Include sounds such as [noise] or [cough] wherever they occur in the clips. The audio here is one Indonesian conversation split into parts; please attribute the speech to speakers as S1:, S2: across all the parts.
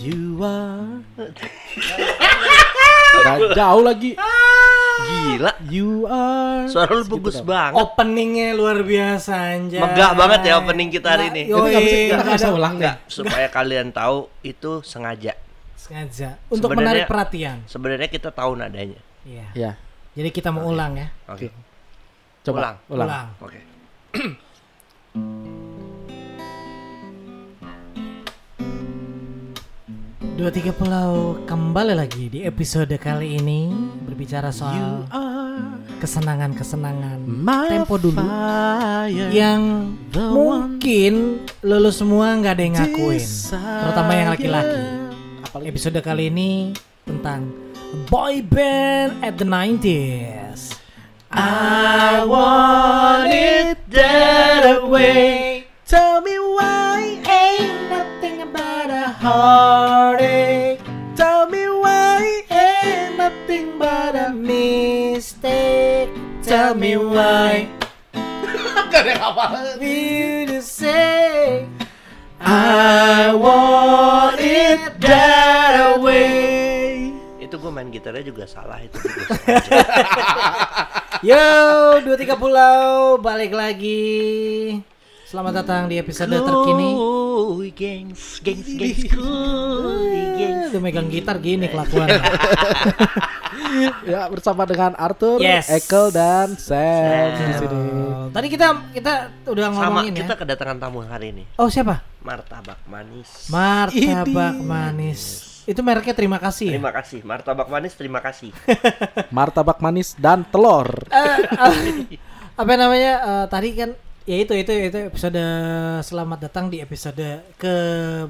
S1: jiwa.
S2: [laughs]
S1: Gak jauh lagi.
S2: Gila.
S1: You are.
S2: Suara lu bagus
S3: Oh.
S2: banget.
S3: Openingnya luar biasa anjay.
S2: Megah banget ya opening kita hari ini.
S3: Yoi,
S1: Itu nggak bisa kita
S3: nggak
S1: nggak bisa
S3: ada-
S1: ulang deh.
S2: Enggak, supaya kalian tahu itu sengaja.
S3: Sengaja untuk
S2: Sebenarnya-
S3: menarik perhatian.
S2: Sebenarnya kita tahu nadanya.
S3: Iya.
S1: Ya,
S3: Jadi kita mau ulang ya.
S2: Oke. Ulang.
S1: coba ulang.
S3: Ulang.
S2: Oke.
S3: Dua tiga pulau kembali lagi di episode kali ini berbicara soal kesenangan-kesenangan tempo dulu Iya, yang
S1: Hmm. the
S3: mungkin lulus semua nggak ada yang ngakuin, terutama yang laki-laki.
S1: Apalagi
S3: Episode kali ini tentang boy band at the 90s.
S1: I want it that way. Tell me why ain't nothing but a heartache. Tell me why ain't nothing but a mistake. Tell me why. you to say I want it that way.
S2: Itu gue main gitarnya juga salah itu.
S3: [laughs] Yo,
S1: Ya,
S3: dua tiga pulau balik lagi. Selamat datang di episode terkini.
S2: Cool, gengs, gengs, gengs, cool, gengs.
S3: Eh, Udah megang gitar gini
S2: [laughs]
S3: kelakuan.
S2: Iya.
S1: Ya bersama dengan Arthur,
S3: Yes.
S1: Ekel dan Sam di sini.
S3: Tadi kita kita udah
S2: Sama
S3: ngomongin
S2: kita
S3: ya.
S2: kedatangan tamu hari ini.
S3: Oh siapa?
S2: Martabak manis.
S3: Martabak manis. Itu mereknya terima kasih. Ya?
S2: Terima kasih, martabak manis. Terima
S3: [laughs]
S2: kasih.
S1: Martabak manis dan telur.
S3: Eh, [laughs] eh, apa namanya? eh, tadi kan ya itu itu itu episode selamat datang di episode ke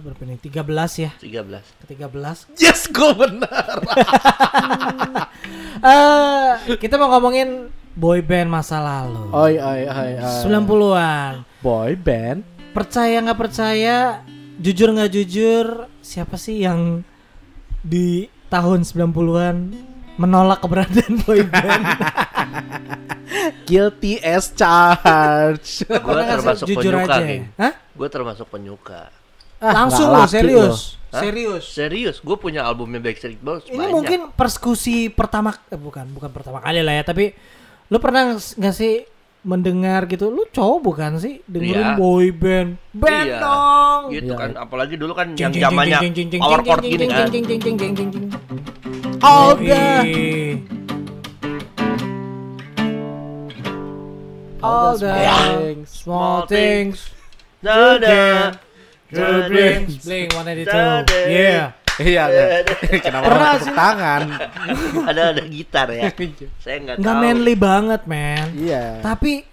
S3: berapa nih? 13 ya.
S2: 13
S3: Ke 13.
S1: Yes, gue benar.
S3: Eh, kita mau ngomongin boy band masa lalu.
S2: Oh,
S1: Oi, oi, oi,
S2: iya.
S1: oi.
S3: 90-an.
S1: Boy band.
S3: Percaya nggak percaya, jujur nggak jujur, siapa sih yang di tahun 90-an menolak keberadaan [laughs] boy band?
S1: Guilty as charge.
S2: Gue
S3: Pernah nggak sih?
S2: termasuk
S3: jujur
S2: penyuka,
S3: aja.
S2: geng.
S3: ya? Hah?
S2: Gue termasuk penyuka.
S3: Langsung
S1: nggak
S3: loh,
S1: laki
S3: serius.
S2: Hah?
S3: Serius.
S2: Serius, gue punya albumnya Backstreet Boys.
S3: Ini
S2: banyak.
S3: mungkin persekusi pertama eh, bukan, bukan pertama kali lah ya, tapi lu pernah nggak sih mendengar gitu lu cowok bukan sih
S2: Iya.
S3: dengerin boy band band
S2: Iya,
S3: dong
S2: Gitu
S1: Iya.
S2: kan, apalagi dulu kan
S3: Jing,
S2: yang
S3: jing,
S2: zamannya
S3: jing, jing, jing,
S2: power
S3: jing,
S2: chord
S3: jing,
S2: gini
S3: jing,
S2: kan.
S3: jing, jing, jing, jing, jing, iya. jing.
S1: Oh,
S3: Yoi. All the small things
S2: Dada,
S3: that brings Blink 182 Yeah
S1: [laughs] Iya, [laughs] iya. Kenapa
S3: Pernah
S1: orang tepuk tangan?
S2: ada ada gitar ya. Saya nggak
S3: Nggak
S2: tahu.
S3: manly banget man
S1: Iya.
S3: Tapi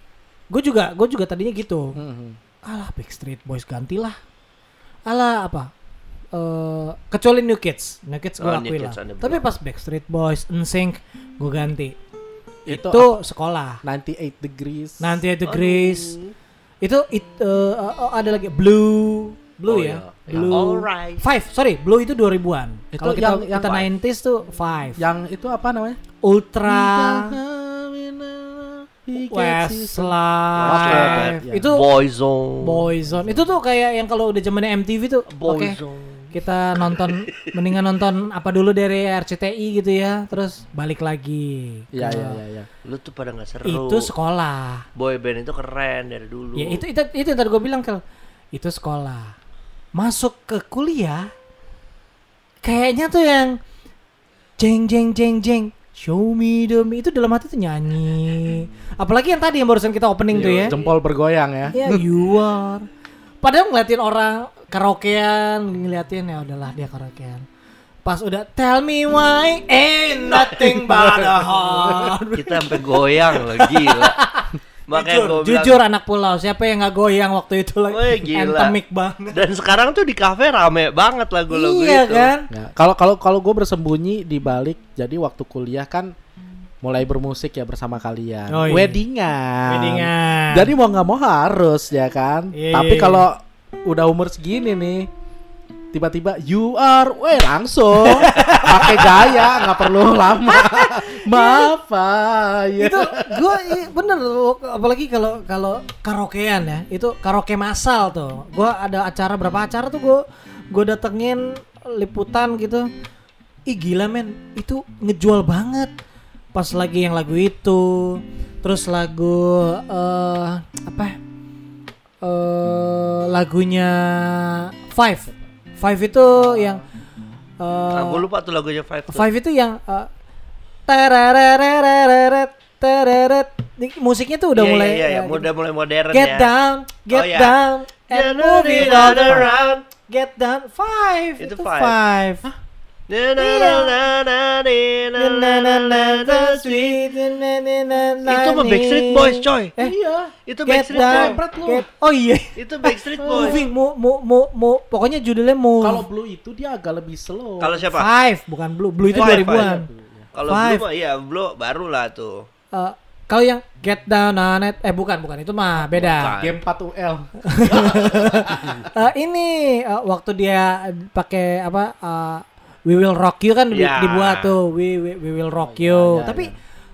S3: Gue juga Gue juga tadinya gitu
S1: Mhm.
S3: Alah Backstreet Boys gantilah Alah apa Eh, kecuali New Kids, New Kids gue
S2: Oh, New
S3: lakuin lah.
S2: Kids on the
S3: Tapi pas Backstreet Boys, NSYNC, gue ganti.
S1: Itu
S3: Itu sekolah.
S1: 98 degrees.
S3: Nanti ada Grace. Itu it- eh, eh, oh, ada lagi Blue,
S2: Oh,
S3: Blue ya.
S2: iya.
S3: Blue.
S2: Alright.
S3: Five, sorry, Blue itu 2000-an.
S1: Itu
S3: Kalau kita
S1: yang- yang
S3: kita
S1: Five.
S3: 90s tuh Five.
S1: Yang itu apa namanya? Ah.
S3: Ultra,
S1: Oke,
S3: Westlife.
S1: iya.
S3: Itu
S2: Boyzone.
S3: Boyzone. Itu tuh kayak yang kalau udah zamannya MTV tuh oke.
S2: Boyzone.
S3: Kita nonton mendingan nonton apa dulu dari RCTI gitu ya, terus balik lagi. ke-
S1: Iya, iya, iya, iya.
S2: Lu tuh pada nggak seru.
S3: Itu sekolah.
S2: Boy band itu keren dari dulu.
S3: Ya itu itu itu yang tadi gue bilang Kel. Itu sekolah. Masuk ke kuliah kayaknya tuh yang jeng jeng jeng jeng show me the me. itu dalam hati tuh nyanyi. Apalagi yang tadi yang barusan kita opening tuh ya.
S1: Jempol bergoyang ya.
S3: Ya you are. Padahal ngeliatin orang karaokean, ngeliatin ya udahlah dia karaokean. Pas udah tell me why ain't nothing but a heart.
S2: Kita sampai goyang lagi
S3: [laughs]
S2: gila. [laughs] Makanya
S3: jujur,
S2: gua bilang,
S3: jujur anak pulau siapa yang nggak goyang waktu itu lagi
S2: Woi, gila.
S3: anthemic banget
S2: Dan sekarang tuh di kafe rame banget lagu-lagu
S3: iya
S2: itu.
S3: kan
S1: Ya, kalau kalau kalau gue bersembunyi di balik jadi waktu kuliah kan mulai bermusik ya bersama kalian.
S3: Oh, iya.
S1: Weddingan.
S3: Weddingan.
S1: Jadi mau nggak mau harus ya kan.
S3: Iya,
S1: Tapi
S3: iya,
S1: kalau udah umur segini nih tiba-tiba you are weh
S3: [laughs]
S1: langsung pakai gaya nggak perlu lama maaf ya
S3: itu gue bener apalagi kalau kalau karaokean ya itu karaoke massal tuh gue ada acara berapa acara tuh gue gue datengin eh, liputan gitu ih gila men itu ngejual banget pas lagi yang lagu itu terus lagu eh apa eh lagunya Five Five itu yang eh,
S2: Aku lupa tuh lagunya Five. tuh.
S3: Five itu yang uh, tererererereret, tereret. Ini musiknya tuh udah
S2: Iya,
S3: mulai
S2: Iya, iya,
S3: ya,
S2: udah mulai modern
S3: get
S2: ya.
S3: down, get
S2: Oh, iya.
S3: down, and
S2: And
S3: move it all around.
S2: around.
S3: Get down, five.
S2: Itu
S3: Itu,
S2: Five.
S3: five.
S2: Na na na
S3: Iya.
S2: na na na
S3: Na, na, na, na,
S2: na
S3: the sweet, na, na, na, na,
S2: Itu mah
S3: na.
S2: Backstreet Boys, coy.
S3: Eh,
S1: Iya.
S2: Itu
S3: get
S2: Backstreet
S3: down,
S2: Boys.
S1: lu.
S3: get- oh iya.
S2: Itu Backstreet Boys.
S3: Moving, mu, mu, mu, mu. Pokoknya judulnya move.
S1: Kalau blue itu dia agak lebih slow.
S2: Kalau siapa?
S3: five, bukan blue. Blue itu
S2: Five,
S3: 2000-an.
S2: Kalau
S3: Five.
S2: Blue mah iya, Blue baru lah tuh.
S3: Eh, kalau yang get down on it, eh bukan, bukan itu mah
S2: Bukan.
S3: beda.
S1: game 4 UL.
S3: Eh, ini eh, waktu dia pakai apa eh, We Will Rock You kan di-
S2: Ya.
S3: dibuat tuh We We, We Will Rock You.
S1: ya,
S3: Tapi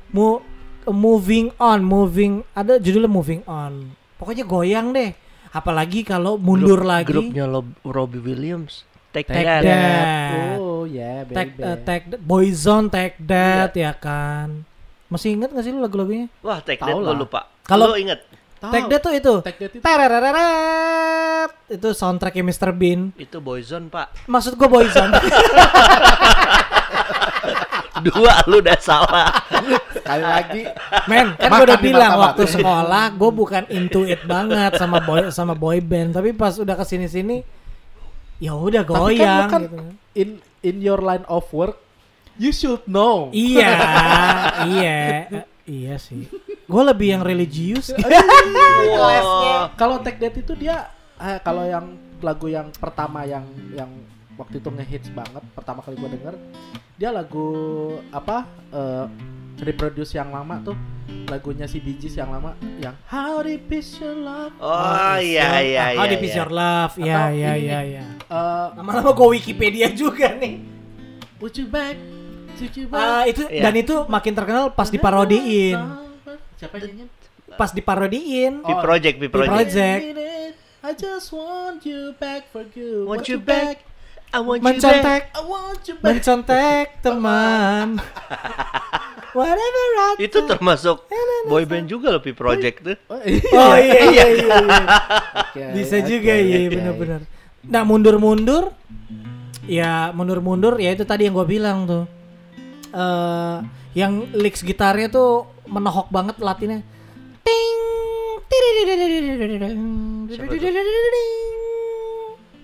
S3: mu- moving on, moving ada judulnya moving on. Pokoknya goyang deh. Apalagi kalau mundur lagi.
S2: Grupnya Lob- Robbie Williams. Take,
S3: Take
S2: that.
S3: that.
S1: Oh ya, yeah,
S3: Take,
S1: baby.
S3: Nah. eh, take that. Boyzone Take That ya kan. Masih inget gak sih lu lagu-lagunya?
S2: Wah, Take
S1: Tau
S2: That gue
S1: lah.
S2: lupa.
S3: Kalau-
S2: Lu inget?
S1: Tahu.
S3: Take That tuh itu.
S1: Take that itu.
S3: Tararararat. Itu soundtracknya Mr. Bean.
S2: Itu Boyzone, Pak. [laughs]
S3: Maksud gua Boyzone.
S2: Dua lu udah
S3: [laughs]
S2: salah.
S1: Sekali lagi.
S3: Men, kan
S1: Makan
S3: gue udah
S1: di
S3: bilang
S1: martabak.
S3: waktu sekolah gue bukan into it banget sama boy sama boy band, tapi pas udah kesini sini, ya udah
S1: Tapi kan lu
S3: goyang.
S1: kan
S3: gitu.
S1: in in your line of work you should know.
S3: Iya, iya, eh, iya sih. Gue lebih yang religius. gitu.
S2: Wah.
S1: Kalau Take That itu dia eh, kalau yang lagu yang pertama yang yang waktu itu ngehits banget pertama kali gue denger dia lagu apa eh, reproduce yang lama tuh lagunya si Bee Gees yang lama yang How Deep Is Your Love
S2: Oh iya iya iya.
S3: How
S2: iya.
S3: deep is your love? Ya
S1: Atau
S3: ya
S1: ini
S3: ya
S1: nih.
S3: ya.
S1: Eh,
S3: Lama-lama gue Wikipedia juga nih.
S1: Put You Back Put You
S3: Ah,
S1: Back
S3: itu
S2: Iya.
S3: dan itu makin terkenal pas diparodiin,
S1: siapa yang nyanyi
S3: pas diparodiin.
S2: Di
S1: Oh.
S2: project, di project.
S3: Project.
S1: I just want you back for good.
S2: Want you back. I want you back.
S3: Mencontek,
S1: I want you [laughs] back.
S3: mencontek teman. Whatever I
S2: Itu
S3: do.
S2: termasuk
S3: Eh, nah,
S2: boyband juga loh, Pi Project tuh.
S1: Oh,
S3: Oh iya iya iya. iya.
S1: Oke,
S3: Bisa
S1: oke,
S3: juga iya
S1: oke.
S3: benar-benar. Nah, mundur-mundur ya mundur-mundur ya itu tadi yang gue bilang tuh. eh yang licks gitarnya tuh menohok banget latinnya. Ting
S2: Siapa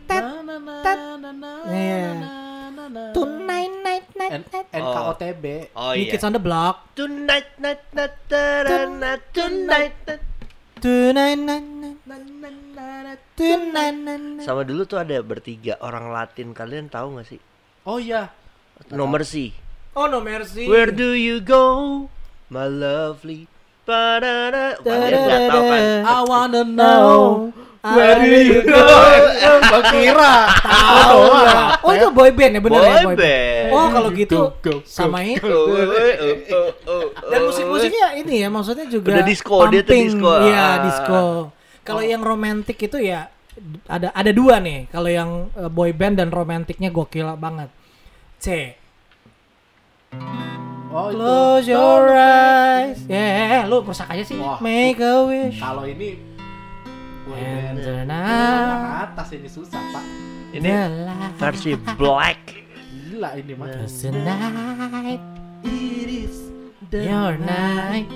S1: Na, na, na,
S3: Tet.
S1: na, na,
S3: Iya.
S1: na, na, na, na.
S3: Tonight night night
S1: N-
S3: night.
S1: NKOTB.
S2: Oh
S3: Ini
S2: iya.
S3: Kids on the Block.
S2: Tonight, night, night, tarana, tonight, night.
S3: Tonight night night night. Tonight night night.
S2: Sama dulu tuh ada bertiga orang Latin kalian tahu nggak sih?
S1: Oh iya.
S2: Nomor C.
S3: Oh no mercy.
S2: Where do you go, my lovely? Parana. Kalian nggak tahu kan?
S1: I wanna
S3: know
S1: know where
S3: where do
S1: you
S3: you
S1: go. [laughs] Gua kira tahu doang.
S3: Oh itu boy band ya bener ya boy band.
S2: Boyband.
S3: Oh kalau gitu
S1: Go, go, go,
S3: sama ini.
S2: Oh, oh, oh, oh, oh, oh.
S3: Dan musik-musiknya ini ya maksudnya juga
S2: Udah disco, dia tuh
S3: pumping.
S2: disco.
S3: Iya,
S2: Ah.
S3: disco. Kalau yang romantik itu ya ada ada dua nih. Kalau yang eh, boy band dan romantiknya gokil banget. C.
S1: Oh itu.
S3: Close your eyes. Yeah, lu rusak aja sih.
S1: Wah.
S3: Make a wish.
S1: Kalau ini
S3: And
S1: Wih,
S3: then
S1: nah.
S3: I-
S1: atas ini susah, Pak.
S2: Ini versi black.
S1: Gila ini mah.
S3: Cause tonight
S1: It is the
S3: your night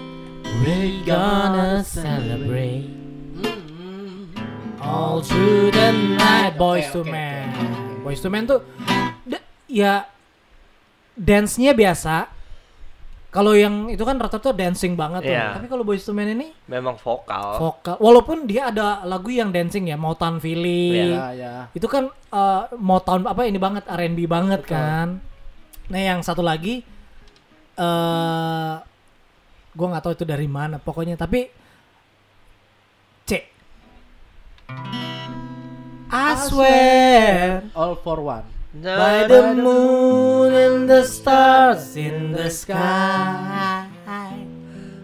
S3: we gonna celebrate
S1: Mm-mm.
S3: all through the night
S1: Oke,
S3: boys
S1: oke,
S3: to
S1: oke,
S3: men
S1: oke, oke.
S3: boys to men tuh da- ya dance-nya biasa kalau yang itu kan rata-rata dancing banget tuh.
S2: Iya.
S3: tapi kalau boys to men ini
S2: Memang vokal.
S1: Oh.
S3: vokal walaupun dia ada lagu yang dancing ya Motown Philly
S1: Ya, ya.
S3: itu kan eh, Motown apa ini banget R&B banget kan nah yang satu lagi eh gue nggak tahu itu dari mana pokoknya tapi C I swear
S1: All for one.
S3: by the moon and the stars in the sky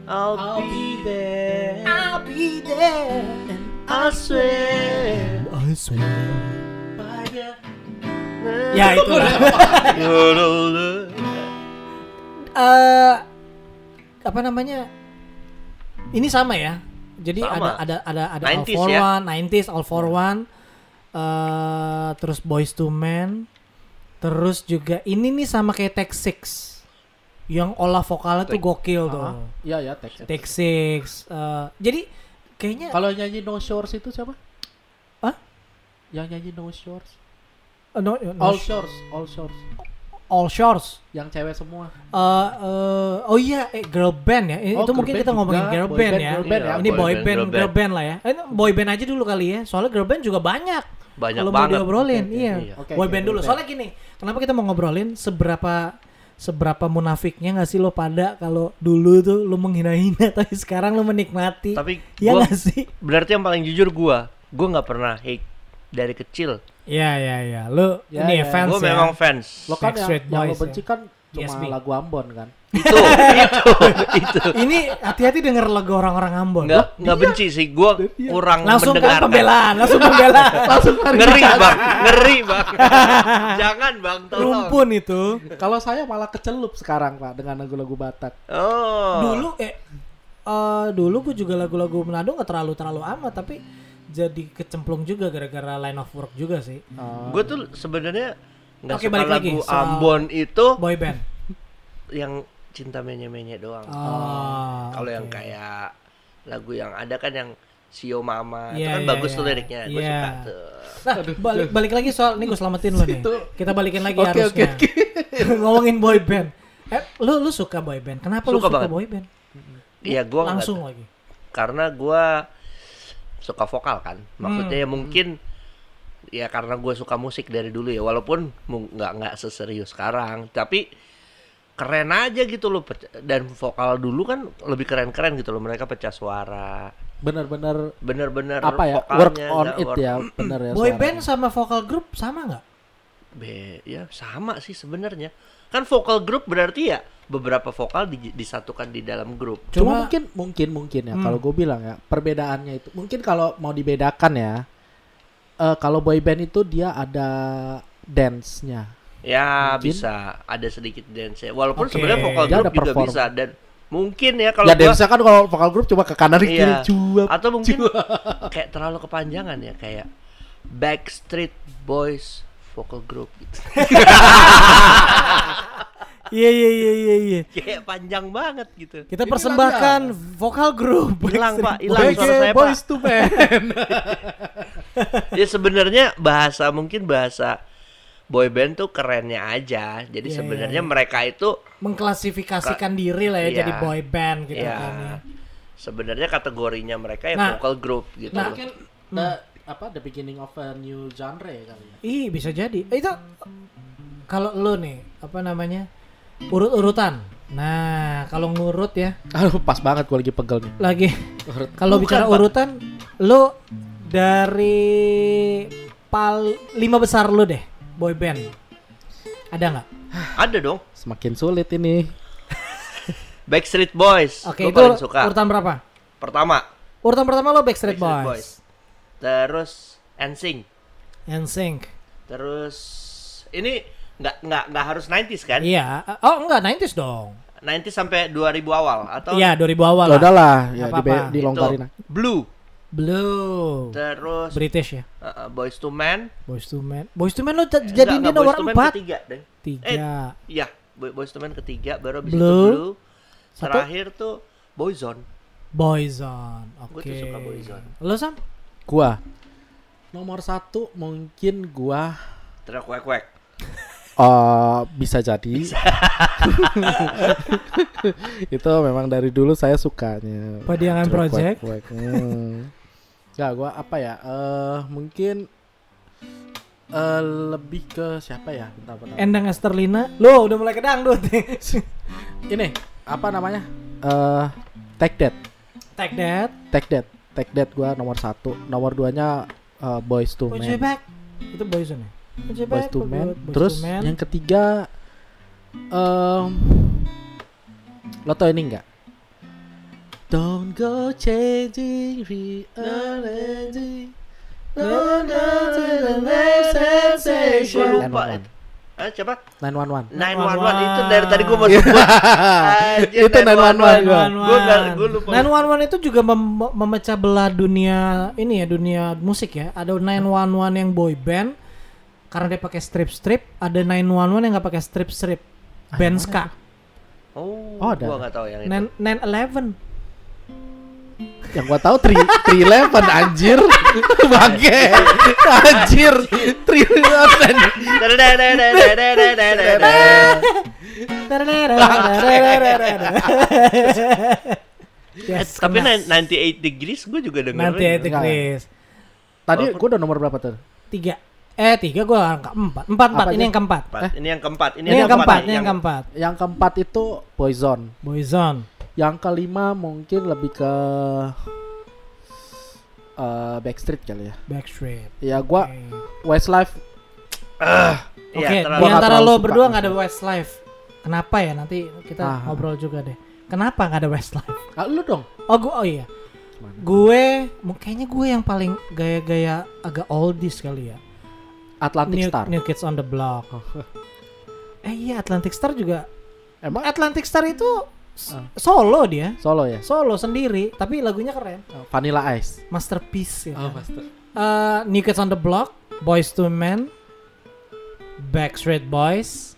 S1: I'll be there.
S3: I'll be there
S2: I swear
S3: [laughs] I swear
S1: By the
S2: na
S3: ya itu Eh, apa namanya ini sama ya jadi
S2: Sama.
S3: ada ada ada ada all
S2: 90s
S3: for
S2: ya.
S3: one 90s all for one eh terus boys to men terus juga ini nih sama kayak Tech Six yang olah vokalnya tuh
S2: Tech-
S3: gokil tuh
S1: Ah, Iya ya, teks.
S3: Tech Six eh, jadi kayaknya
S1: Kalau nyanyi No Shores itu siapa?
S3: Hah?
S1: Yang nyanyi No Shores.
S3: eh, no- no-
S1: All Shores, All Shores.
S3: all shores
S1: Yang cewek semua.
S3: Eh, eh, oh iya, eh, girl band ya. Eh,
S1: Oh,
S3: itu
S1: girl
S3: mungkin
S1: band
S3: kita ngomongin
S1: juga.
S3: girl
S1: Boy
S3: band
S1: band,
S3: ya.
S1: girl band
S2: Iya,
S1: ya.
S3: Ini
S2: boy
S3: boy
S2: band,
S3: band,
S2: girl
S3: girl band lah ya. Eh, boy band aja dulu kali ya. Soalnya girl band juga banyak.
S2: Banyak
S3: Kalau mau
S2: banget.
S3: diobrolin,
S2: Oke, oke,
S3: iya.
S2: iya.
S1: Oke,
S3: boy
S1: oke,
S3: band
S1: boy
S3: dulu.
S1: band.
S3: Soalnya gini, kenapa kita mau ngobrolin seberapa seberapa munafiknya nggak sih lo pada kalau dulu tuh lo menghina-hina [laughs] tapi sekarang lo menikmati.
S2: Tapi
S3: ya
S2: gua-
S3: nggak sih?
S2: Berarti yang paling jujur gua, gua nggak pernah hate dari kecil.
S3: Ya ya ya. Lo
S1: Ya,
S3: ini
S1: ya.
S3: ya, fans
S2: Gua
S3: ya.
S2: memang fans.
S1: Lo kan yang,
S3: Backstreet
S1: yang lo
S3: Boys, ya.
S1: benci kan cuma
S3: ESB.
S1: lagu Ambon
S3: [laughs]
S1: kan.
S2: itu, [laughs] itu, itu.
S3: Ini hati-hati denger lagu orang-orang Ambon.
S2: Nggak, nggak benci sih. Gua kurang
S3: Iya. Langsung kan
S2: mendengarkan.
S3: pembelaan, Iya. langsung
S2: [laughs]
S3: pembelaan.
S1: Langsung lari.
S2: Ngeri bang, ngeri
S3: [laughs]
S2: bang. Jangan bang, tolong.
S3: Rumpun itu.
S1: Kalau saya malah kecelup sekarang Pak dengan lagu-lagu Batak.
S2: Oh.
S3: dulu eh eh, dulu gue juga lagu-lagu Manado nggak terlalu terlalu amat tapi jadi kecemplung juga gara-gara line of work juga sih
S1: Eh,
S2: Gue tuh sebenarnya nggak
S3: Oke,
S2: suka
S3: balik lagi,
S2: lagu
S3: soal-
S2: Ambon itu
S3: boy band
S2: yang cinta menye-menye doang.
S3: oh,
S2: Kalau yang
S3: oke.
S2: kayak lagu yang ada kan yang Sio Mama itu
S3: Iya,
S2: kan
S3: iya,
S2: bagus tuh
S3: iya.
S2: liriknya, gue
S3: Iya.
S2: suka tuh.
S3: nah, balik balik lagi soal nih gue selamatin lo nih
S1: Situ.
S3: kita balikin lagi
S1: Oke,
S3: harusnya [laughs] ngomongin boy band eh lu lu suka boy band kenapa lu
S2: Suka banget.
S3: suka boy band
S2: Iya gua nggak-
S3: langsung lagi
S2: karena gua suka vokal kan, maksudnya ya
S1: Hmm.
S2: mungkin ya karena gue suka musik dari dulu ya, walaupun mu- nggak nggak seserius sekarang, tapi keren aja gitu loh perc- dan vokal dulu kan lebih keren-keren gitu loh mereka pecah suara
S1: Bener-bener
S2: bener-bener
S1: apa ya?
S2: vokalnya
S1: Work on
S2: nggak
S1: it
S2: work-
S1: ya, bener ya.
S3: boy
S1: suaranya.
S3: band sama vocal group sama nggak
S2: Be, ya sama sih sebenarnya. Kan vokal grup berarti ya beberapa vokal di- disatukan di dalam
S1: Cuma
S2: grup.
S3: Cuma-
S1: mungkin mungkin mungkin ya
S3: Hmm.
S1: kalau gue bilang ya perbedaannya itu mungkin kalau mau dibedakan ya eh kalau boy band itu dia ada dance-nya.
S2: Ya
S1: Mungkin.
S2: bisa ada sedikit dance walaupun
S3: Oke.
S2: sebenarnya vokal
S1: Dia
S2: grup
S1: ada
S2: juga
S1: perform.
S2: bisa dan mungkin ya kalau
S1: Ya
S2: gua-
S1: dance-nya kan kalau vokal group cuma ke kanan ke kiri
S2: Iya.
S1: cuap.
S2: atau mungkin kayak terlalu kepanjangan ya kayak Backstreet Boys vokal group gitu.
S3: iya iya iya iya iya
S2: [laughs] kayak panjang banget gitu.
S3: kita
S1: Ini
S3: persembahkan vocal group
S2: Hilang,
S3: Backstreet
S2: Pak,
S3: Boys.
S2: hilang. suara saya, Pak.
S1: boys to men.
S2: Ya sebenarnya bahasa mungkin bahasa boyband tuh kerennya aja. Jadi
S3: Iya, iya,
S2: sebenarnya
S3: iya.
S2: mereka itu
S3: mengklasifikasikan diri lah ya
S2: Iya.
S3: jadi boy band gitu
S2: ya
S3: kan ya.
S2: sebenarnya kategorinya mereka ya
S3: Nah.
S2: vocal group gitu loh.
S3: Nah,
S1: mungkin the, apa the beginning of a new genre ya kali ya.
S3: Ih, bisa jadi. Eh, Itu kalau lo nih apa namanya? Urut-urutan. Nah, kalau ngurut ya
S1: Aduh pas banget gue lagi pegel nih.
S3: lagi [laughs]
S1: Urut.
S3: kalau
S2: Bukan,
S3: bicara
S2: Pak.
S3: urutan lo dari pal lima besar lo deh boy band. Ada nggak?
S2: ada dong
S1: Semakin sulit ini.
S2: Backstreet Boys
S3: Oke,
S2: Gua
S3: itu
S2: paling suka
S3: urutan berapa?
S2: pertama
S3: Urutan pertama lo Backstreet, Boys.
S2: terus NSYNC
S3: NSYNC.
S2: terus ini nggak nggak nggak harus 90s kan
S3: Iya. Oh, enggak 90s dong.
S2: 90s sampai 2000 awal atau
S3: Iya, 2000 awal.
S1: Udah
S3: Lah.
S1: lah ya
S3: Nggak
S1: dibe-
S3: apa-apa.
S2: itu,
S1: dilonggarin. ah.
S2: Blue
S3: Blue.
S2: terus
S3: British ya.
S2: uh, uh, Boys to Men
S3: Boys to Men. Boys to Men lo j- jadiin dia nomor
S2: empat
S3: 4.
S2: ketiga deh
S3: Tiga.
S2: ya Boys to Men ketiga baru abis
S3: Blue.
S2: itu Blue
S3: Satu.
S2: terakhir tuh Boyzone
S3: Boyzone. Oke.
S2: Gua tuh suka Boyzone.
S3: Lo Sam?
S1: Gua nomor satu mungkin gua
S2: Terus kuek-kuek
S1: Eh, bisa jadi. [laughs] itu memang dari dulu saya sukanya.
S3: Padiangan
S1: Jeruk
S3: Project.
S1: kuek-kuek. Hmm. Nggak, gua apa ya? Eh mungkin eh lebih ke siapa ya? Bentar, bentar.
S3: Endang Esterlina. Lo udah mulai [laughs] kedangdut.
S1: Ini apa namanya? Eh Take That.
S3: Take that.
S1: Take That. Take That gua nomor satu. Nomor duanya eh, Boys to
S3: Put you
S1: Men.
S3: back. Itu Boyzone ya. Put you
S1: Boys
S3: back,
S1: to
S3: put
S1: Men.
S3: you- Boyz
S1: Terus
S3: II Men.
S1: yang ketiga em lo tau ini enggak? Don't go changing reality.
S2: Gua
S1: Sensation.
S2: lupa. ya. Eh, coba
S1: 911.
S2: 911 itu dari tadi gua mau
S3: [laughs]
S2: sebut. Nah, Anjir,
S1: Itu 911 gua.
S2: Gua nggak- gua lupa.
S3: 911 itu juga mem- memecah belah dunia ini ya dunia musik ya. Ada 911 yang boy band karena dia pakai strip-strip, ada 911 yang nggak pakai strip-strip. Band ska.
S2: Oh,
S1: Oh, ada.
S2: gua nggak tahu yang itu.
S3: 911.
S1: Yang gua tahu 3 311 anjir. [laughs] Bangke. Anjir. 311.
S2: Eh,
S3: Yes,
S2: Tapi
S3: kena.
S2: 98 degrees gue juga dengerin.
S3: nanti ya, itu Chris.
S1: Tadi gua udah nomor berapa tuh?
S3: Tiga. Eh tiga gue angka empat. Empat empat
S1: Apa
S3: ini
S1: itu?
S3: yang keempat.
S2: Empat. Ini yang keempat.
S3: Ini yang keempat.
S2: nih,
S3: Ini yang keempat.
S1: Yang keempat itu Boyzone.
S3: Boyzone.
S1: Yang kelima mungkin lebih ke eh, Backstreet kali ya.
S3: Backstreet.
S1: Ya gua Westlife
S2: Iya,
S3: Oke,
S2: terlalu-
S3: di antara
S1: terlalu
S3: lo
S1: suka.
S3: berdua nggak ada Westlife. Kenapa ya? Nanti kita
S1: Ah.
S3: ngobrol juga deh. Kenapa nggak ada Westlife?
S1: Ah, lu dong.
S3: Oh, gue oh iya.
S1: Gimana?
S3: Gue mu- kayaknya gue yang paling gaya-gaya agak oldies kali ya.
S1: Atlantic
S3: New,
S1: Star.
S3: New Kids on the
S1: [laughs]
S3: Block. Eh iya, Atlantic Star juga.
S1: Emang
S3: Atlantic Star itu s-
S1: Ah.
S3: solo dia.
S1: Solo ya?
S3: Solo sendiri, tapi lagunya keren.
S1: Vanilla Ice.
S3: Masterpiece ya. kan?
S1: master.
S3: Eh, New Kids on the Block, Boys to Men, Backstreet Boys,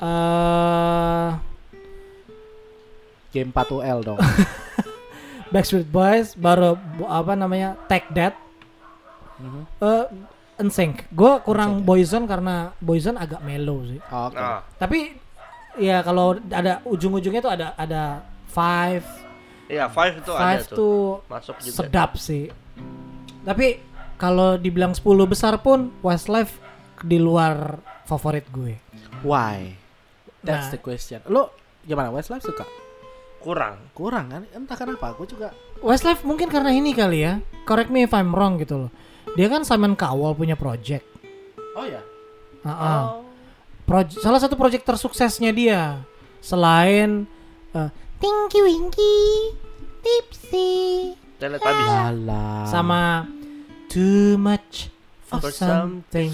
S3: eh
S1: Game 4UL
S3: [laughs]
S1: dong.
S3: Backstreet Boys, baru bu- apa namanya Take That,
S1: Mhm.
S3: eh NSYNC. Gue
S1: NSYNC, ya.
S3: kurang Boyzone karena Boyzone agak mellow sih.
S1: Oke.
S2: Ah,
S3: Tapi ya kalau ada ujung-ujungnya tuh ada ada Five,
S2: Iya, five itu ada
S3: Five
S2: tuh.
S3: tuh
S2: Masuk juga.
S3: sedap sih. Tapi kalau dibilang 10 besar pun Westlife di luar favorit gue.
S1: Why? That's the
S3: Nah.
S1: question. Lu gimana Westlife suka?
S2: Kurang.
S1: Kurang kan? Entah kenapa aku juga.
S3: Westlife mungkin karena ini kali ya. Correct me if I'm wrong gitu loh. Dia kan Simon Cowell punya project.
S1: Oh ya.
S2: Oh.
S3: Ah-ah. Proj- salah satu project tersuksesnya dia selain eh, Tinky Winky, Tipsy,
S2: Teletubbies.
S1: Alah.
S3: sama Too Much for,
S2: For
S3: Something.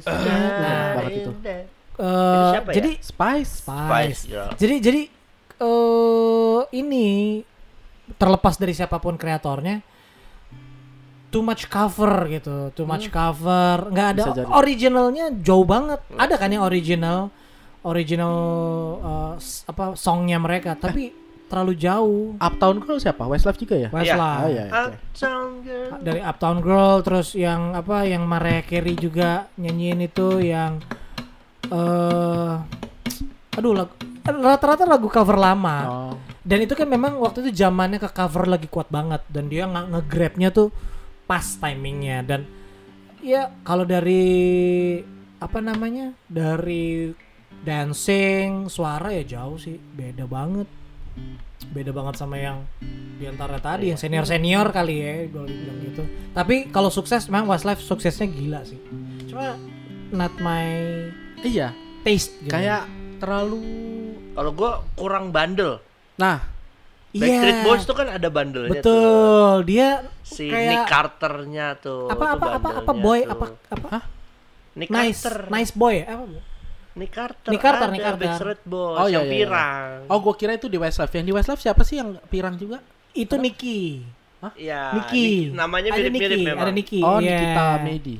S3: Nah,
S2: nah,
S1: banget itu.
S3: Eh,
S2: siapa ya?
S3: jadi
S1: Spice.
S3: Spice.
S2: Spice Girl.
S3: Jadi jadi eh ini terlepas dari siapapun kreatornya too much cover gitu, too much cover, nggak ada
S1: Bisa jadi.
S3: originalnya jauh banget. Ada kan yang original original eh, s- apa songnya mereka, tapi terlalu jauh.
S1: Uptown Girl siapa? Westlife juga ya?
S3: Westlife.
S1: Oh iya.
S2: Ah,
S1: oke.
S2: Uptown Girl.
S3: dari Uptown Girl terus yang apa yang Mariah Carey juga nyanyiin itu yang eh aduh lagu rata-rata lagu cover lama
S1: Oh.
S3: dan itu kan memang waktu itu zamannya ke cover lagi kuat banget dan dia nge- nge-grabnya tuh pas timingnya dan ya kalau dari apa namanya dari dancing suara ya jauh sih beda banget beda banget sama yang diantara tadi yang senior senior kali ya kalau dibilang gitu tapi kalau sukses memang Westlife suksesnya gila sih cuma not my
S1: Iya.
S3: taste gitu.
S1: Kayak terlalu.
S2: Kalau gue kurang bandel.
S1: Nah,
S3: Iya,
S2: Backstreet Boys tuh kan ada bandelnya tuh.
S3: betul dia
S2: Si Nick
S3: kayak
S2: Carternya tuh. tuh
S3: apa apa apa apa
S2: bandelnya
S3: boy
S2: tuh.
S3: apa apa
S2: ya, Nick
S3: nice
S2: Carter.
S3: nice boy apa
S2: Nick Carter.
S3: Nick Carter,
S2: ada,
S3: Nick Carter.
S2: Backstreet Boys.
S1: Oh, iya, iya,
S2: yang
S1: iya.
S2: pirang.
S1: oh gua kira itu di Westlife. Yang di Westlife siapa sih yang pirang juga?
S3: itu Nicky
S2: Iya. Nick-
S3: Nicky
S2: namanya
S3: ada
S2: mirip-mirip
S3: Nicky
S2: memang.
S3: ada Nicky
S1: Oh,
S3: iya.
S1: Nikita [laughs] Medi.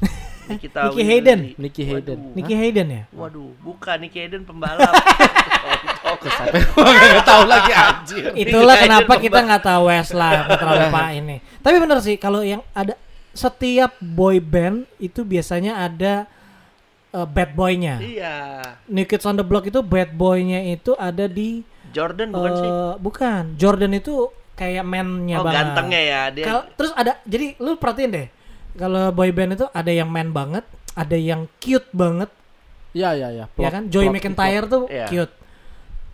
S2: Nikita
S3: Nicky
S2: Willy.
S3: Hayden.
S1: Nicky Hayden.
S2: Waduh.
S3: Nicky Hayden ya
S2: Waduh, bukan Nicky Hayden
S3: [laughs]
S2: pembalap. Contoh.
S1: Gak tahu lagi anjir.
S3: itulah
S2: Nicky Hayden
S3: kenapa kita
S2: pembalap.
S3: nggak tahu
S2: [laughs]
S3: Westlife nggak terlalu lupain nih tapi bener sih kalau yang ada setiap boy band itu biasanya ada eh, bad boy-nya
S2: Iya.
S3: New Kids on the Block itu bad boy-nya itu ada di
S2: Jordan bukan sih?
S3: eh, bukan Jordan itu kayak man-nya
S2: Oh,
S3: banget
S2: gantengnya ya dia.
S3: Kal- terus ada jadi lu perhatiin deh kalau boy band itu ada yang man banget ada yang cute banget
S1: Iya, iya, iya.
S3: ya
S1: Plot-
S3: kan Joey
S1: plot-
S3: McIntyre tuh
S2: Iya.
S3: cute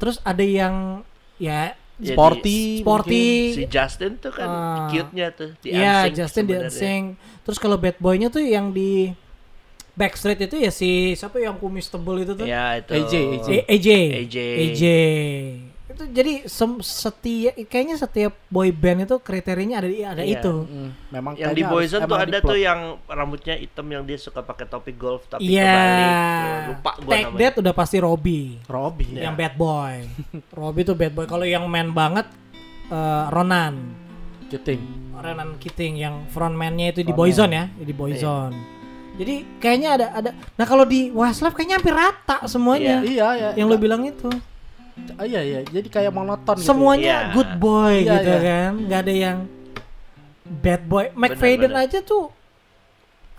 S3: terus ada yang ya
S1: plot. Sporty.
S3: sporty
S2: si Justin tuh kan
S3: Ah.
S2: cute-nya tuh di
S3: ya
S2: Unsync
S3: Justin
S2: sebenarnya.
S3: Dancing terus kalau bad boy-nya tuh yang di Backstreet itu ya si siapa yang kumis tebel itu tuh
S2: Iya itu.
S1: AJ, AJ.
S3: Eh, AJ
S2: AJ.
S3: AJ itu jadi sem- setiap kayaknya setiap boy band itu kriterianya ada di- ada
S2: Iya.
S3: itu.
S1: Mm, memang
S2: Yang di
S1: kayaknya harus
S2: Boyzone tuh
S1: emang
S2: ada
S1: diplot.
S2: tuh yang rambutnya hitam yang dia suka pakai topi golf tapi
S3: Iya.
S2: kebalik. ya, Lupa gua
S3: Take
S2: namanya. Iya.
S3: That udah pasti Robby.
S1: Robby.
S3: Yang bad
S2: [laughs]
S3: boy. Robby tuh bad boy. Kalau yang man banget eh, Ronan.
S1: Kiting.
S3: Renan Keating yang frontman-nya itu di
S1: Frontman.
S3: Boyzone ya, di Boyzone.
S2: Iya.
S3: Jadi kayaknya ada ada nah kalau di Westlife kayaknya hampir rata semuanya.
S1: Iya, ya.
S3: Yang lo bilang itu.
S1: Ah, iya, iya. Jadi kayak monoton gitu.
S2: Iya.
S3: Semuanya good boy
S1: Iya,
S3: gitu
S1: iya.
S3: kan. nggak ada yang bad boy. McFadden
S2: benar.
S3: aja tuh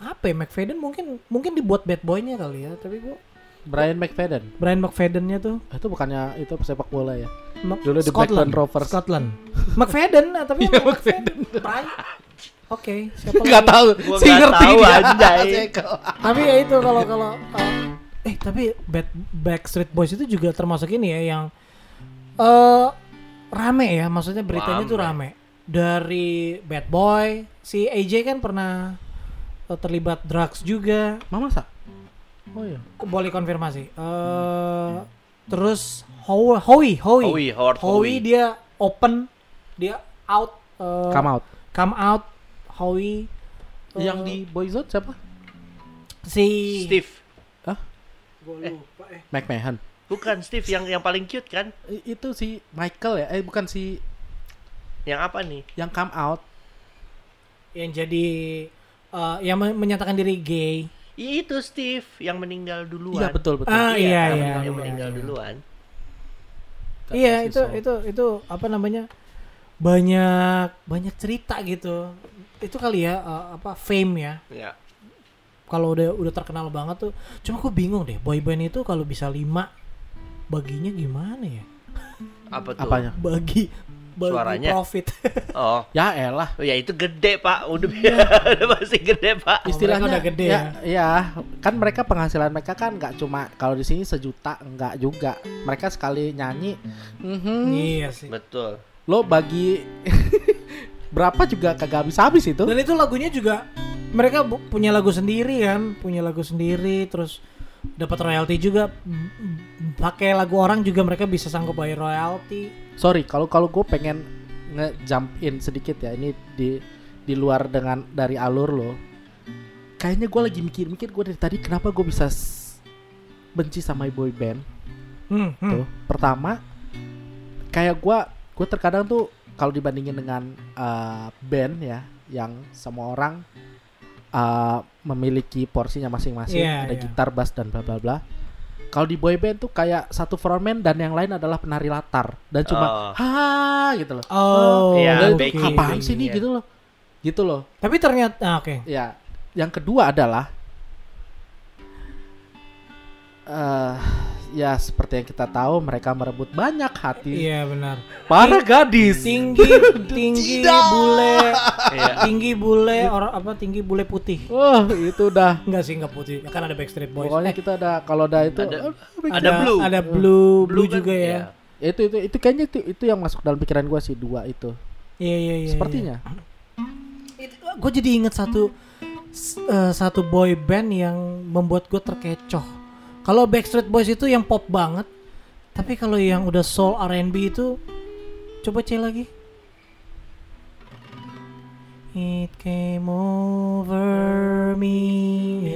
S3: apa ya McFadden mungkin mungkin dibuat bad boy-nya kali ya, tapi gua
S1: Brian McFadden.
S3: Brian McFadden-nya tuh
S1: Ah, Itu bukannya itu sepak bola ya?
S3: Mac-
S1: Dulu di
S3: Scotland
S1: Blackburn Rovers.
S3: Scotland. [laughs] McFadden ah, tapi emang McFadden. Brian. Oke, [laughs] siapa
S1: Enggak
S3: lagi?
S1: tahu.
S2: Gua
S1: Si
S2: nggak
S1: ngerti
S2: tahu,
S1: dia. [laughs]
S2: anjay.
S1: Si Eko.
S3: [laughs] tapi ya itu kalau kalau uh, eh tapi Bad Backstreet Boys itu juga termasuk ini ya yang eh rame ya maksudnya beritanya tuh
S2: Rame.
S3: rame dari Bad Boy si AJ kan pernah eh, terlibat drugs juga
S1: Mama sa? Oh iya.
S3: boleh konfirmasi eh terus Howie Howie Howie,
S2: Howie, Howard Howie.
S3: dia open dia out eh,
S1: Come out.
S3: come out Howie eh,
S1: Yang di Boyzone siapa?
S3: si
S2: Steve.
S3: Gua lupa, eh.
S1: McMahon.
S2: Bukan Steve yang yang paling cute kan?
S1: I- Itu si Michael ya? Eh bukan si
S2: Yang apa nih?
S1: yang come out.
S3: yang jadi eh, yang men- menyatakan diri gay.
S2: Iya itu Steve yang meninggal duluan.
S1: Iya betul betul.
S3: Ah
S2: yang
S3: iya iya.
S2: meninggal-
S3: iya,
S2: yang meninggal
S3: iya.
S2: duluan.
S1: Kata
S3: Iya
S1: si
S3: itu
S1: Saul.
S3: itu itu apa namanya banyak banyak cerita gitu. Itu kali ya eh, apa fame ya.
S2: Iya.
S3: Kalau udah udah terkenal banget tuh. Cuma gue bingung deh boyband itu kalau bisa lima baginya gimana ya?
S2: Apa tuh?
S1: apanya?
S3: Bagi bagi
S2: Suaranya.
S3: profit. [laughs]
S2: Oh.
S1: Ya elah.
S2: Oh, ya itu gede pak, udah,
S3: Iya.
S2: [laughs] udah pasti gede pak.
S3: Oh, mereka
S1: Istilahnya
S3: udah gede
S1: ya, Iya, kan mereka penghasilan mereka kan nggak cuma kalau di sini sejuta nggak juga. Mereka sekali nyanyi, mhm,
S3: iya sih.
S2: Betul.
S1: lo bagi [laughs] berapa juga kagak habis-habis itu.
S3: Dan itu lagunya juga mereka bu- punya lagu sendiri kan, punya lagu sendiri terus dapat royalti juga M- m- pakai lagu orang juga mereka bisa sanggup bayar royalti.
S1: sorry kalau kalau gue pengen ngejump in sedikit ya ini di di luar dengan dari alur lo kayaknya gue lagi mikir-mikir gue dari tadi kenapa gue bisa s- benci sama boy band
S3: Hmm, hmm.
S1: tuh gitu. pertama kayak gue gue terkadang tuh kalau dibandingin dengan eh, band ya yang semua orang eh, memiliki porsinya masing-masing
S3: Iya,
S1: ada
S3: iya.
S1: gitar bass dan bla bla bla kalau di boy band tuh kayak satu frontman dan yang lain adalah penari latar dan cuma
S2: Oh.
S1: ha gitu loh.
S3: Oh,
S2: Iya,
S1: Dan
S2: baking,
S1: itu apaan
S2: baking,
S1: sih ini
S2: ya.
S1: gitu loh. Gitu loh.
S3: Tapi ternyata ah, oke.
S1: Ya, yang kedua adalah eh ya seperti yang kita tahu mereka merebut banyak hati
S3: Iya benar.
S1: para gadis. [laughs]
S3: Tinggi, tinggi bule, [laughs]
S2: Iya.
S3: tinggi bule orang apa tinggi bule putih.
S1: Wah, Oh, itu udah
S3: Enggak sih, enggak putih. Ya, kan ada Backstreet Boys.
S1: pokoknya
S3: Eh,
S1: kita ada kalau ada itu
S2: Ada-
S1: aduh,
S2: ada Blue.
S3: Ada blue, blue,
S2: kan-
S3: juga ya.
S1: ya itu itu itu kayaknya itu itu yang masuk dalam pikiran gua sih dua itu.
S3: Iya, iya, iya. iya.
S1: Sepertinya.
S3: gue jadi inget satu s- eh, satu boy band yang membuat gue terkecoh. Kalau Backstreet Boys itu yang pop banget, tapi kalau yang udah soul R&B itu, coba cek lagi. It came over me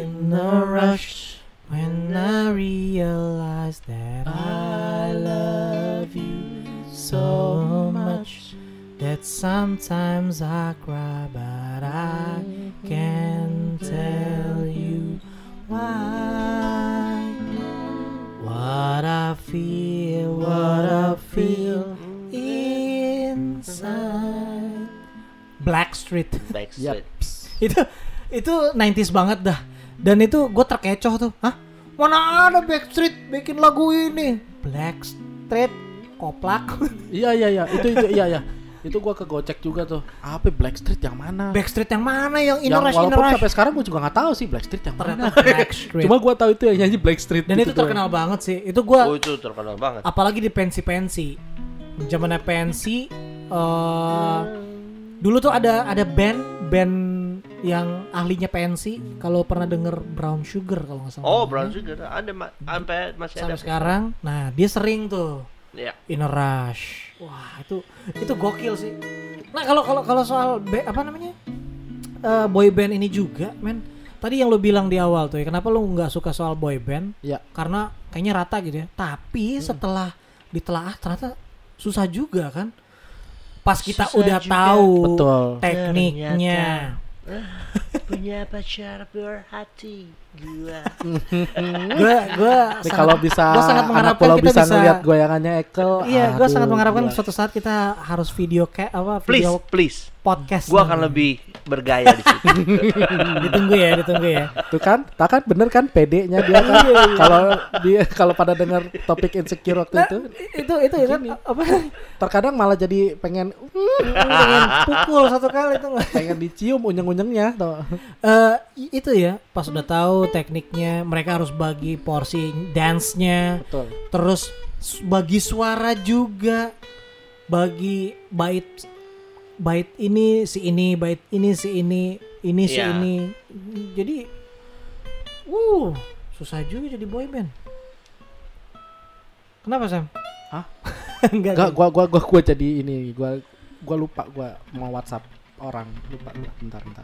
S3: in a rush when I realized that I love you so much. That sometimes I cry, but I can tell you why. What I feel, what I feel inside. Blackstreet. Iya.
S2: Backstreet.
S3: [laughs] itu itu 90s banget dah. Dan itu gue terkecoh tuh. Hah? Mana ada Backstreet bikin lagu ini? Blackstreet koplak. [laughs]
S1: Iya iya iya, itu itu iya ya. Itu gua kegocek juga tuh. Apa Blackstreet yang mana?
S3: Backstreet yang mana yang Inner
S1: yang
S3: Rush Inner
S1: walaupun
S3: Rush?
S1: sampai sekarang gue juga nggak tahu sih Blackstreet yang
S3: ternyata
S1: mana.
S3: Backstreet.
S1: Cuma gue tahu itu yang nyanyi Blackstreet.
S3: dan
S1: gitu
S3: itu
S1: doang.
S3: terkenal banget sih. Itu gua
S2: Oh itu terkenal banget.
S3: apalagi di pensi-pensi. Zamannya pensi eh dulu tuh ada ada band band yang ahlinya pensi kalau pernah denger Brown Sugar kalau nggak salah.
S2: Oh
S3: namanya.
S2: Brown Sugar ada ma- sampai masih ada.
S3: Sampai sekarang. Nah, dia sering tuh
S2: Iya.
S3: In a Rush. Wah, itu itu gokil sih. Nah, kalau kalau kalau soal be- apa namanya? Eh boy band ini juga, men. Tadi yang lo bilang di awal tuh ya, kenapa lo nggak suka soal boy band?
S1: Iya.
S3: Karena kayaknya rata gitu ya.
S1: Hmm.
S3: Tapi setelah ditelaah ternyata susah juga kan. Pas kita
S2: Susah
S3: udah
S2: juga.
S3: tahu
S1: Betul.
S3: tekniknya.
S2: Punya pacar berhati gua.
S3: Gue gue
S1: Ini kalau bisa
S3: gua sangat
S1: anak
S3: mengharapkan
S1: pulau
S3: kita
S1: bisa,
S3: bisa-
S1: ngeliat goyangannya Ekel.
S3: Iya, gue
S1: aduh,
S3: sangat mengharapkan
S1: gila.
S3: suatu saat kita harus video kayak apa
S2: [laughs] Please,
S3: video
S2: please.
S3: podcast.
S2: Gua akan lebih bergaya di
S3: [laughs]
S2: situ.
S3: ditunggu ya, ditunggu ya.
S1: Tuh kan, tak kan bener kan PD-nya dia kan.
S3: Iya,
S1: kalau dia kalau pada dengar topik insecure waktu itu,
S3: itu itu itu kan apa [laughs]
S1: terkadang malah jadi pengen "Uh,
S3: pengen pukul satu kali itu nggak?
S1: pengen dicium unyeng-unyengnya tuh.
S3: Eh, i- itu ya pas udah tahu tekniknya mereka harus bagi porsi dance-nya
S1: Betul.
S3: terus s- bagi suara juga bagi bait bait ini si ini bait ini si ini ini si
S2: Iya.
S3: ini jadi uh susah juga jadi boyband kenapa Sam? [laughs]
S1: Hah? Enggak,
S3: Enggak, kan?
S1: gua gua gua gua jadi ini, gua gua lupa gua mau WhatsApp orang, lupa gua. Bentar, bentar.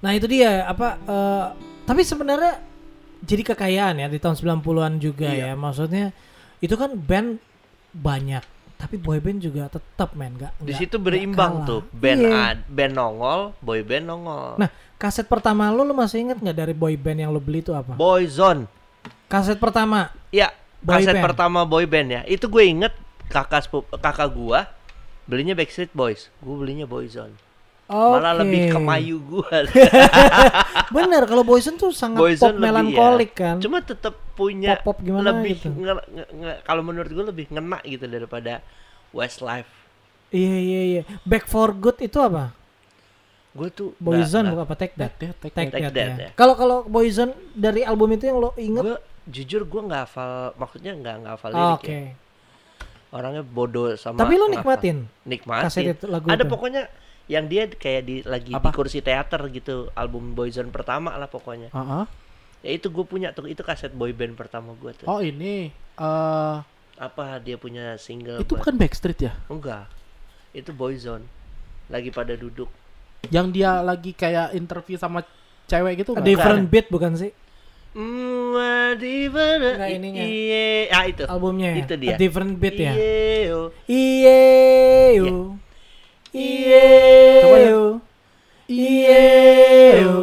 S3: Nah itu dia apa eh, tapi sebenarnya jadi kekayaan ya di tahun 90-an juga
S2: Iya.
S3: ya. Maksudnya itu kan band banyak tapi boy band juga tetap men nggak
S2: Di
S3: nggak-
S2: situ
S3: nggak
S2: berimbang
S3: kalah.
S2: tuh. Band
S3: Iya.
S2: ad, band nongol, boy band nongol.
S3: Nah, kaset pertama lu lu masih inget nggak dari boy band yang lu beli itu apa?
S2: Boyzone.
S3: kaset pertama.
S2: Ya,
S3: Boy
S2: kaset
S3: band.
S2: pertama boy band ya. Itu gue inget kakak sepu- kakak gua belinya Backstreet Boys. Gue belinya Boyzone. Malah
S3: Oke.
S2: lebih ke mayu
S3: [laughs]
S2: gua.
S3: Bener kalau Boyzone tuh sangat
S2: [laughs]
S3: pop
S2: Boyzone lebih
S3: melankolik
S2: ya.
S3: kan.
S2: Cuma tetap punya
S3: Pop-pop gimana
S2: lebih
S3: gitu.
S2: nge- nge- nge- kalau menurut gue lebih ngena gitu daripada Westlife.
S3: Iya iya iya. Back for Good itu apa?
S2: Gue tuh
S3: Boyzone bukan apa Take That?
S1: Take That, Take
S2: That. Take That,
S3: ya.
S2: ya.
S3: Kalau kalau Boyzone dari album itu yang lo inget?
S2: gue jujur gue nggak hafal maksudnya nggak nggak hafal
S3: Ah,
S2: lirik
S3: Oke.
S2: ya. Orangnya bodoh sama
S3: Tapi lo
S2: penghafal.
S3: nikmatin
S2: nikmatin.
S3: kaset itu lagu
S2: Ada
S3: itu.
S2: pokoknya yang dia kayak di lagi di
S1: Apa?
S2: kursi teater gitu album Boyzone pertama lah pokoknya.
S1: Heeh.
S2: Ya itu gue punya tuh itu kaset boy band pertama gue tuh.
S1: Oh, ini eh
S2: Apa dia punya single?
S1: itu
S2: buat-
S1: bukan Backstreet ya?
S2: enggak. Itu Boyzone. Lagi pada duduk.
S1: Yang dia lagi kayak interview sama cewek gitu
S3: A
S1: kan?
S3: Different beat bukan sih
S2: Mm, ah, di mana?
S3: Enggak, ininya.
S2: Iye. Ah itu.
S3: albumnya? ya?
S2: Itu dia.
S3: A Different beat ya.
S2: Iye, oh.
S1: Iya.
S3: Iye yo. Iye
S1: Coba ya.
S3: yo. Iye yo.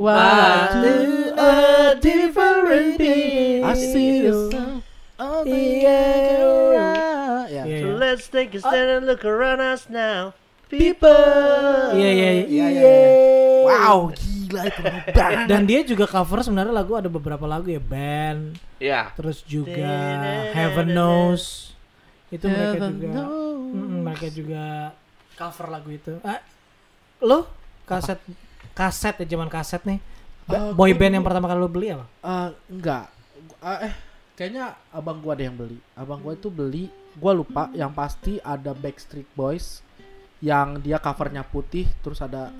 S1: Wah,
S3: To a different beat.
S1: I see the sun on the
S3: Yeah.
S1: yeah.
S3: Iya,
S1: yeah.
S2: So
S3: iya.
S2: let's take a stand and look around us now.
S1: People.
S3: Iya iya
S1: Iya, iya,
S3: iya.
S1: Wow, gila itu keren banget.
S3: Dan dia juga cover sebenarnya lagu ada beberapa lagu ya band
S2: Ya.
S3: terus juga Heaven Knows itu mereka
S1: Heaven
S3: juga
S1: knows.
S3: Mm-mm, mereka juga cover lagu itu. Ah, lo kaset kaset ya zaman kaset nih. Ba-
S1: Aku-
S3: boy band yang pertama kali lo beli apa?
S1: Eh, enggak. Ah, eh, kayaknya abang gua ada yang beli. Abang gua itu beli, gua lupa yang pasti ada Backstreet Boys yang dia covernya putih terus ada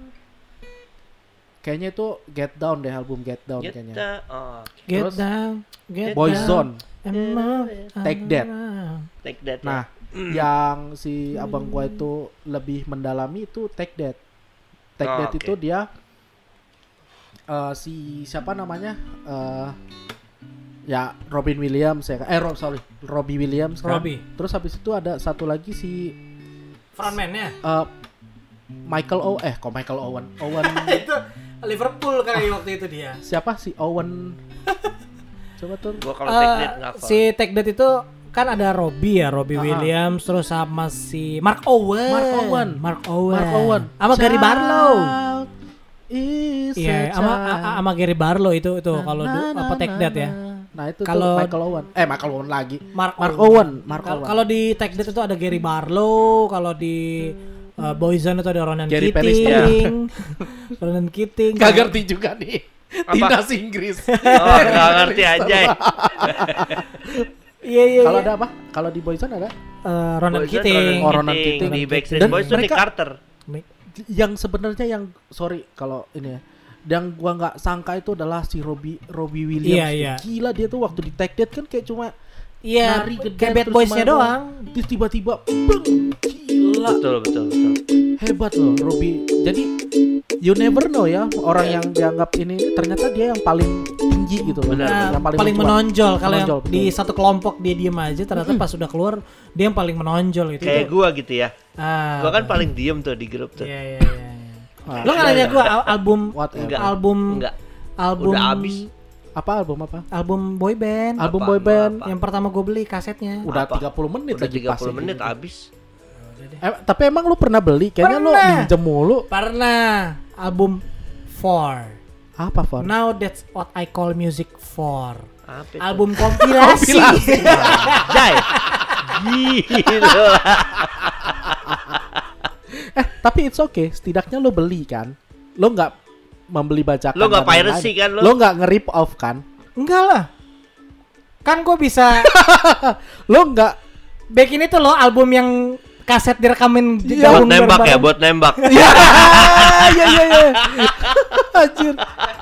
S1: kayaknya itu Get Down deh album Get Down kayaknya.
S2: Kita oh,
S3: Get
S1: Terus,
S3: down, get
S1: Boyzone.
S3: down, and move
S1: Take that.
S3: around.
S2: take that. ya.
S1: Nah, yang si abang gua itu lebih mendalami itu Take That. Take
S2: Oh,
S1: That
S2: oke.
S1: itu dia eh, si siapa namanya? Eh, ya Robin Williams ya. kan? Eh Rob, sorry, Robbie Williams. kan.
S3: Robbie.
S1: Terus habis itu ada satu lagi si
S3: Frontman-nya
S1: eh, Michael O eh kok Michael Owen. Owen [laughs]
S3: itu Liverpool kali waktu itu dia.
S1: siapa si Owen?
S3: [laughs]
S1: Coba tuh
S2: Gua kalau take that nggak hafal.
S3: Ah, Eh, si Take That itu kan ada Robbie ya, Robbie
S1: Ah.
S3: Williams terus sama si Mark Owen.
S1: Mark Owen.
S3: Mark Owen.
S1: Mark Owen.
S3: Sama Gary
S1: Child
S3: Barlow.
S1: is a
S3: Iya, sama
S1: child.
S3: a- sama Gary Barlow itu itu kalau du-
S1: Na, na,
S3: apa Take
S1: na,
S3: That ya.
S1: na. Nah itu
S3: Kalau-
S1: tuh Michael Owen. Eh Michael Owen lagi.
S3: Mark,
S1: Mark Owen. Mark
S3: Kal-
S1: Owen.
S3: Kalau di Take That itu ada Gary Barlow, kalau di
S1: Hmm.
S3: uh, Boyzone itu ada Ronan
S1: Gary Paris,
S3: Keating.
S1: ya.
S3: [laughs] Ronan Keating.
S1: Gak ngerti juga nih. Timnas [laughs] Inggris.
S2: Oh, nggak ngerti aja. ya.
S3: Iya iya.
S1: Kalau
S3: iya.
S1: ada apa? Kalau di Boyzone ada?
S3: Uh, Ronan
S2: Boyzone,
S3: Keating.
S1: Ronan- Orang
S2: Keating,
S1: Keating.
S2: di
S1: Dan
S2: Backstreet Boys tuh Nick
S1: mereka-
S2: Carter.
S1: Yang sebenarnya yang sorry kalau ini ya. Yang gua nggak sangka itu adalah si Robbie Robbie Williams.
S3: Iya, iya.
S1: Gila dia tuh waktu di Tech Dead kan kayak cuma
S3: Iya,
S1: Nari ke
S3: kayak
S1: dance
S3: bad
S1: terus
S3: boysnya
S1: main
S3: doang.
S1: Terus tiba-tiba beng, gila
S2: betul betul betul
S1: hebat loh Robby jadi you never know ya orang
S3: Iya.
S1: yang dianggap ini, ini ternyata dia yang paling tinggi gitu loh
S2: Benar,
S3: Nah,
S1: yang
S3: paling,
S1: mencuat.
S3: menonjol kalau yang
S1: Menonjol,
S3: di
S1: betul.
S3: satu kelompok dia diem aja ternyata pas sudah keluar dia yang paling menonjol itu.
S2: kayak gua gitu ya
S3: Ah,
S2: gua kan paling diem tuh di grup tuh Nah,
S3: Iya iya iya.
S1: Ah,
S3: Lo nggak nanya gue album
S1: what
S2: Enggak.
S3: album
S2: enggak
S3: album
S2: Udah abis.
S1: apa album apa
S3: album boy band
S1: album
S2: Apa,
S1: boyband
S2: apa?
S3: yang pertama gue beli kasetnya.
S1: udah
S2: Apa?
S1: 30 menit
S2: udah
S1: lagi
S2: 30
S1: pasti.
S2: menit abis
S1: Eh, tapi emang lu pernah beli kayaknya lu
S3: Pernah.
S1: minjem mulu
S3: Pernah album Four.
S1: apa Fon?
S3: Now that's what I call music for.
S2: apa itu?
S3: Album kompilasi.
S1: [laughs]
S2: Jai gila
S1: eh tapi it's okay setidaknya lu beli kan lu nggak membeli bajakan
S2: Lu nggak
S1: dan lain-lain.
S2: piracy kan, lu?
S1: lu nggak nge-rip off kan
S3: Enggak lah. Kan gue bisa
S1: lu
S2: [laughs]
S1: nggak [laughs]
S3: back ini tuh loh album yang kaset direkamin di-
S1: Iya.
S2: buat
S3: gabung
S2: nembak ya
S3: bareng-bareng.
S2: buat nembak
S1: ya ya ya ya anjir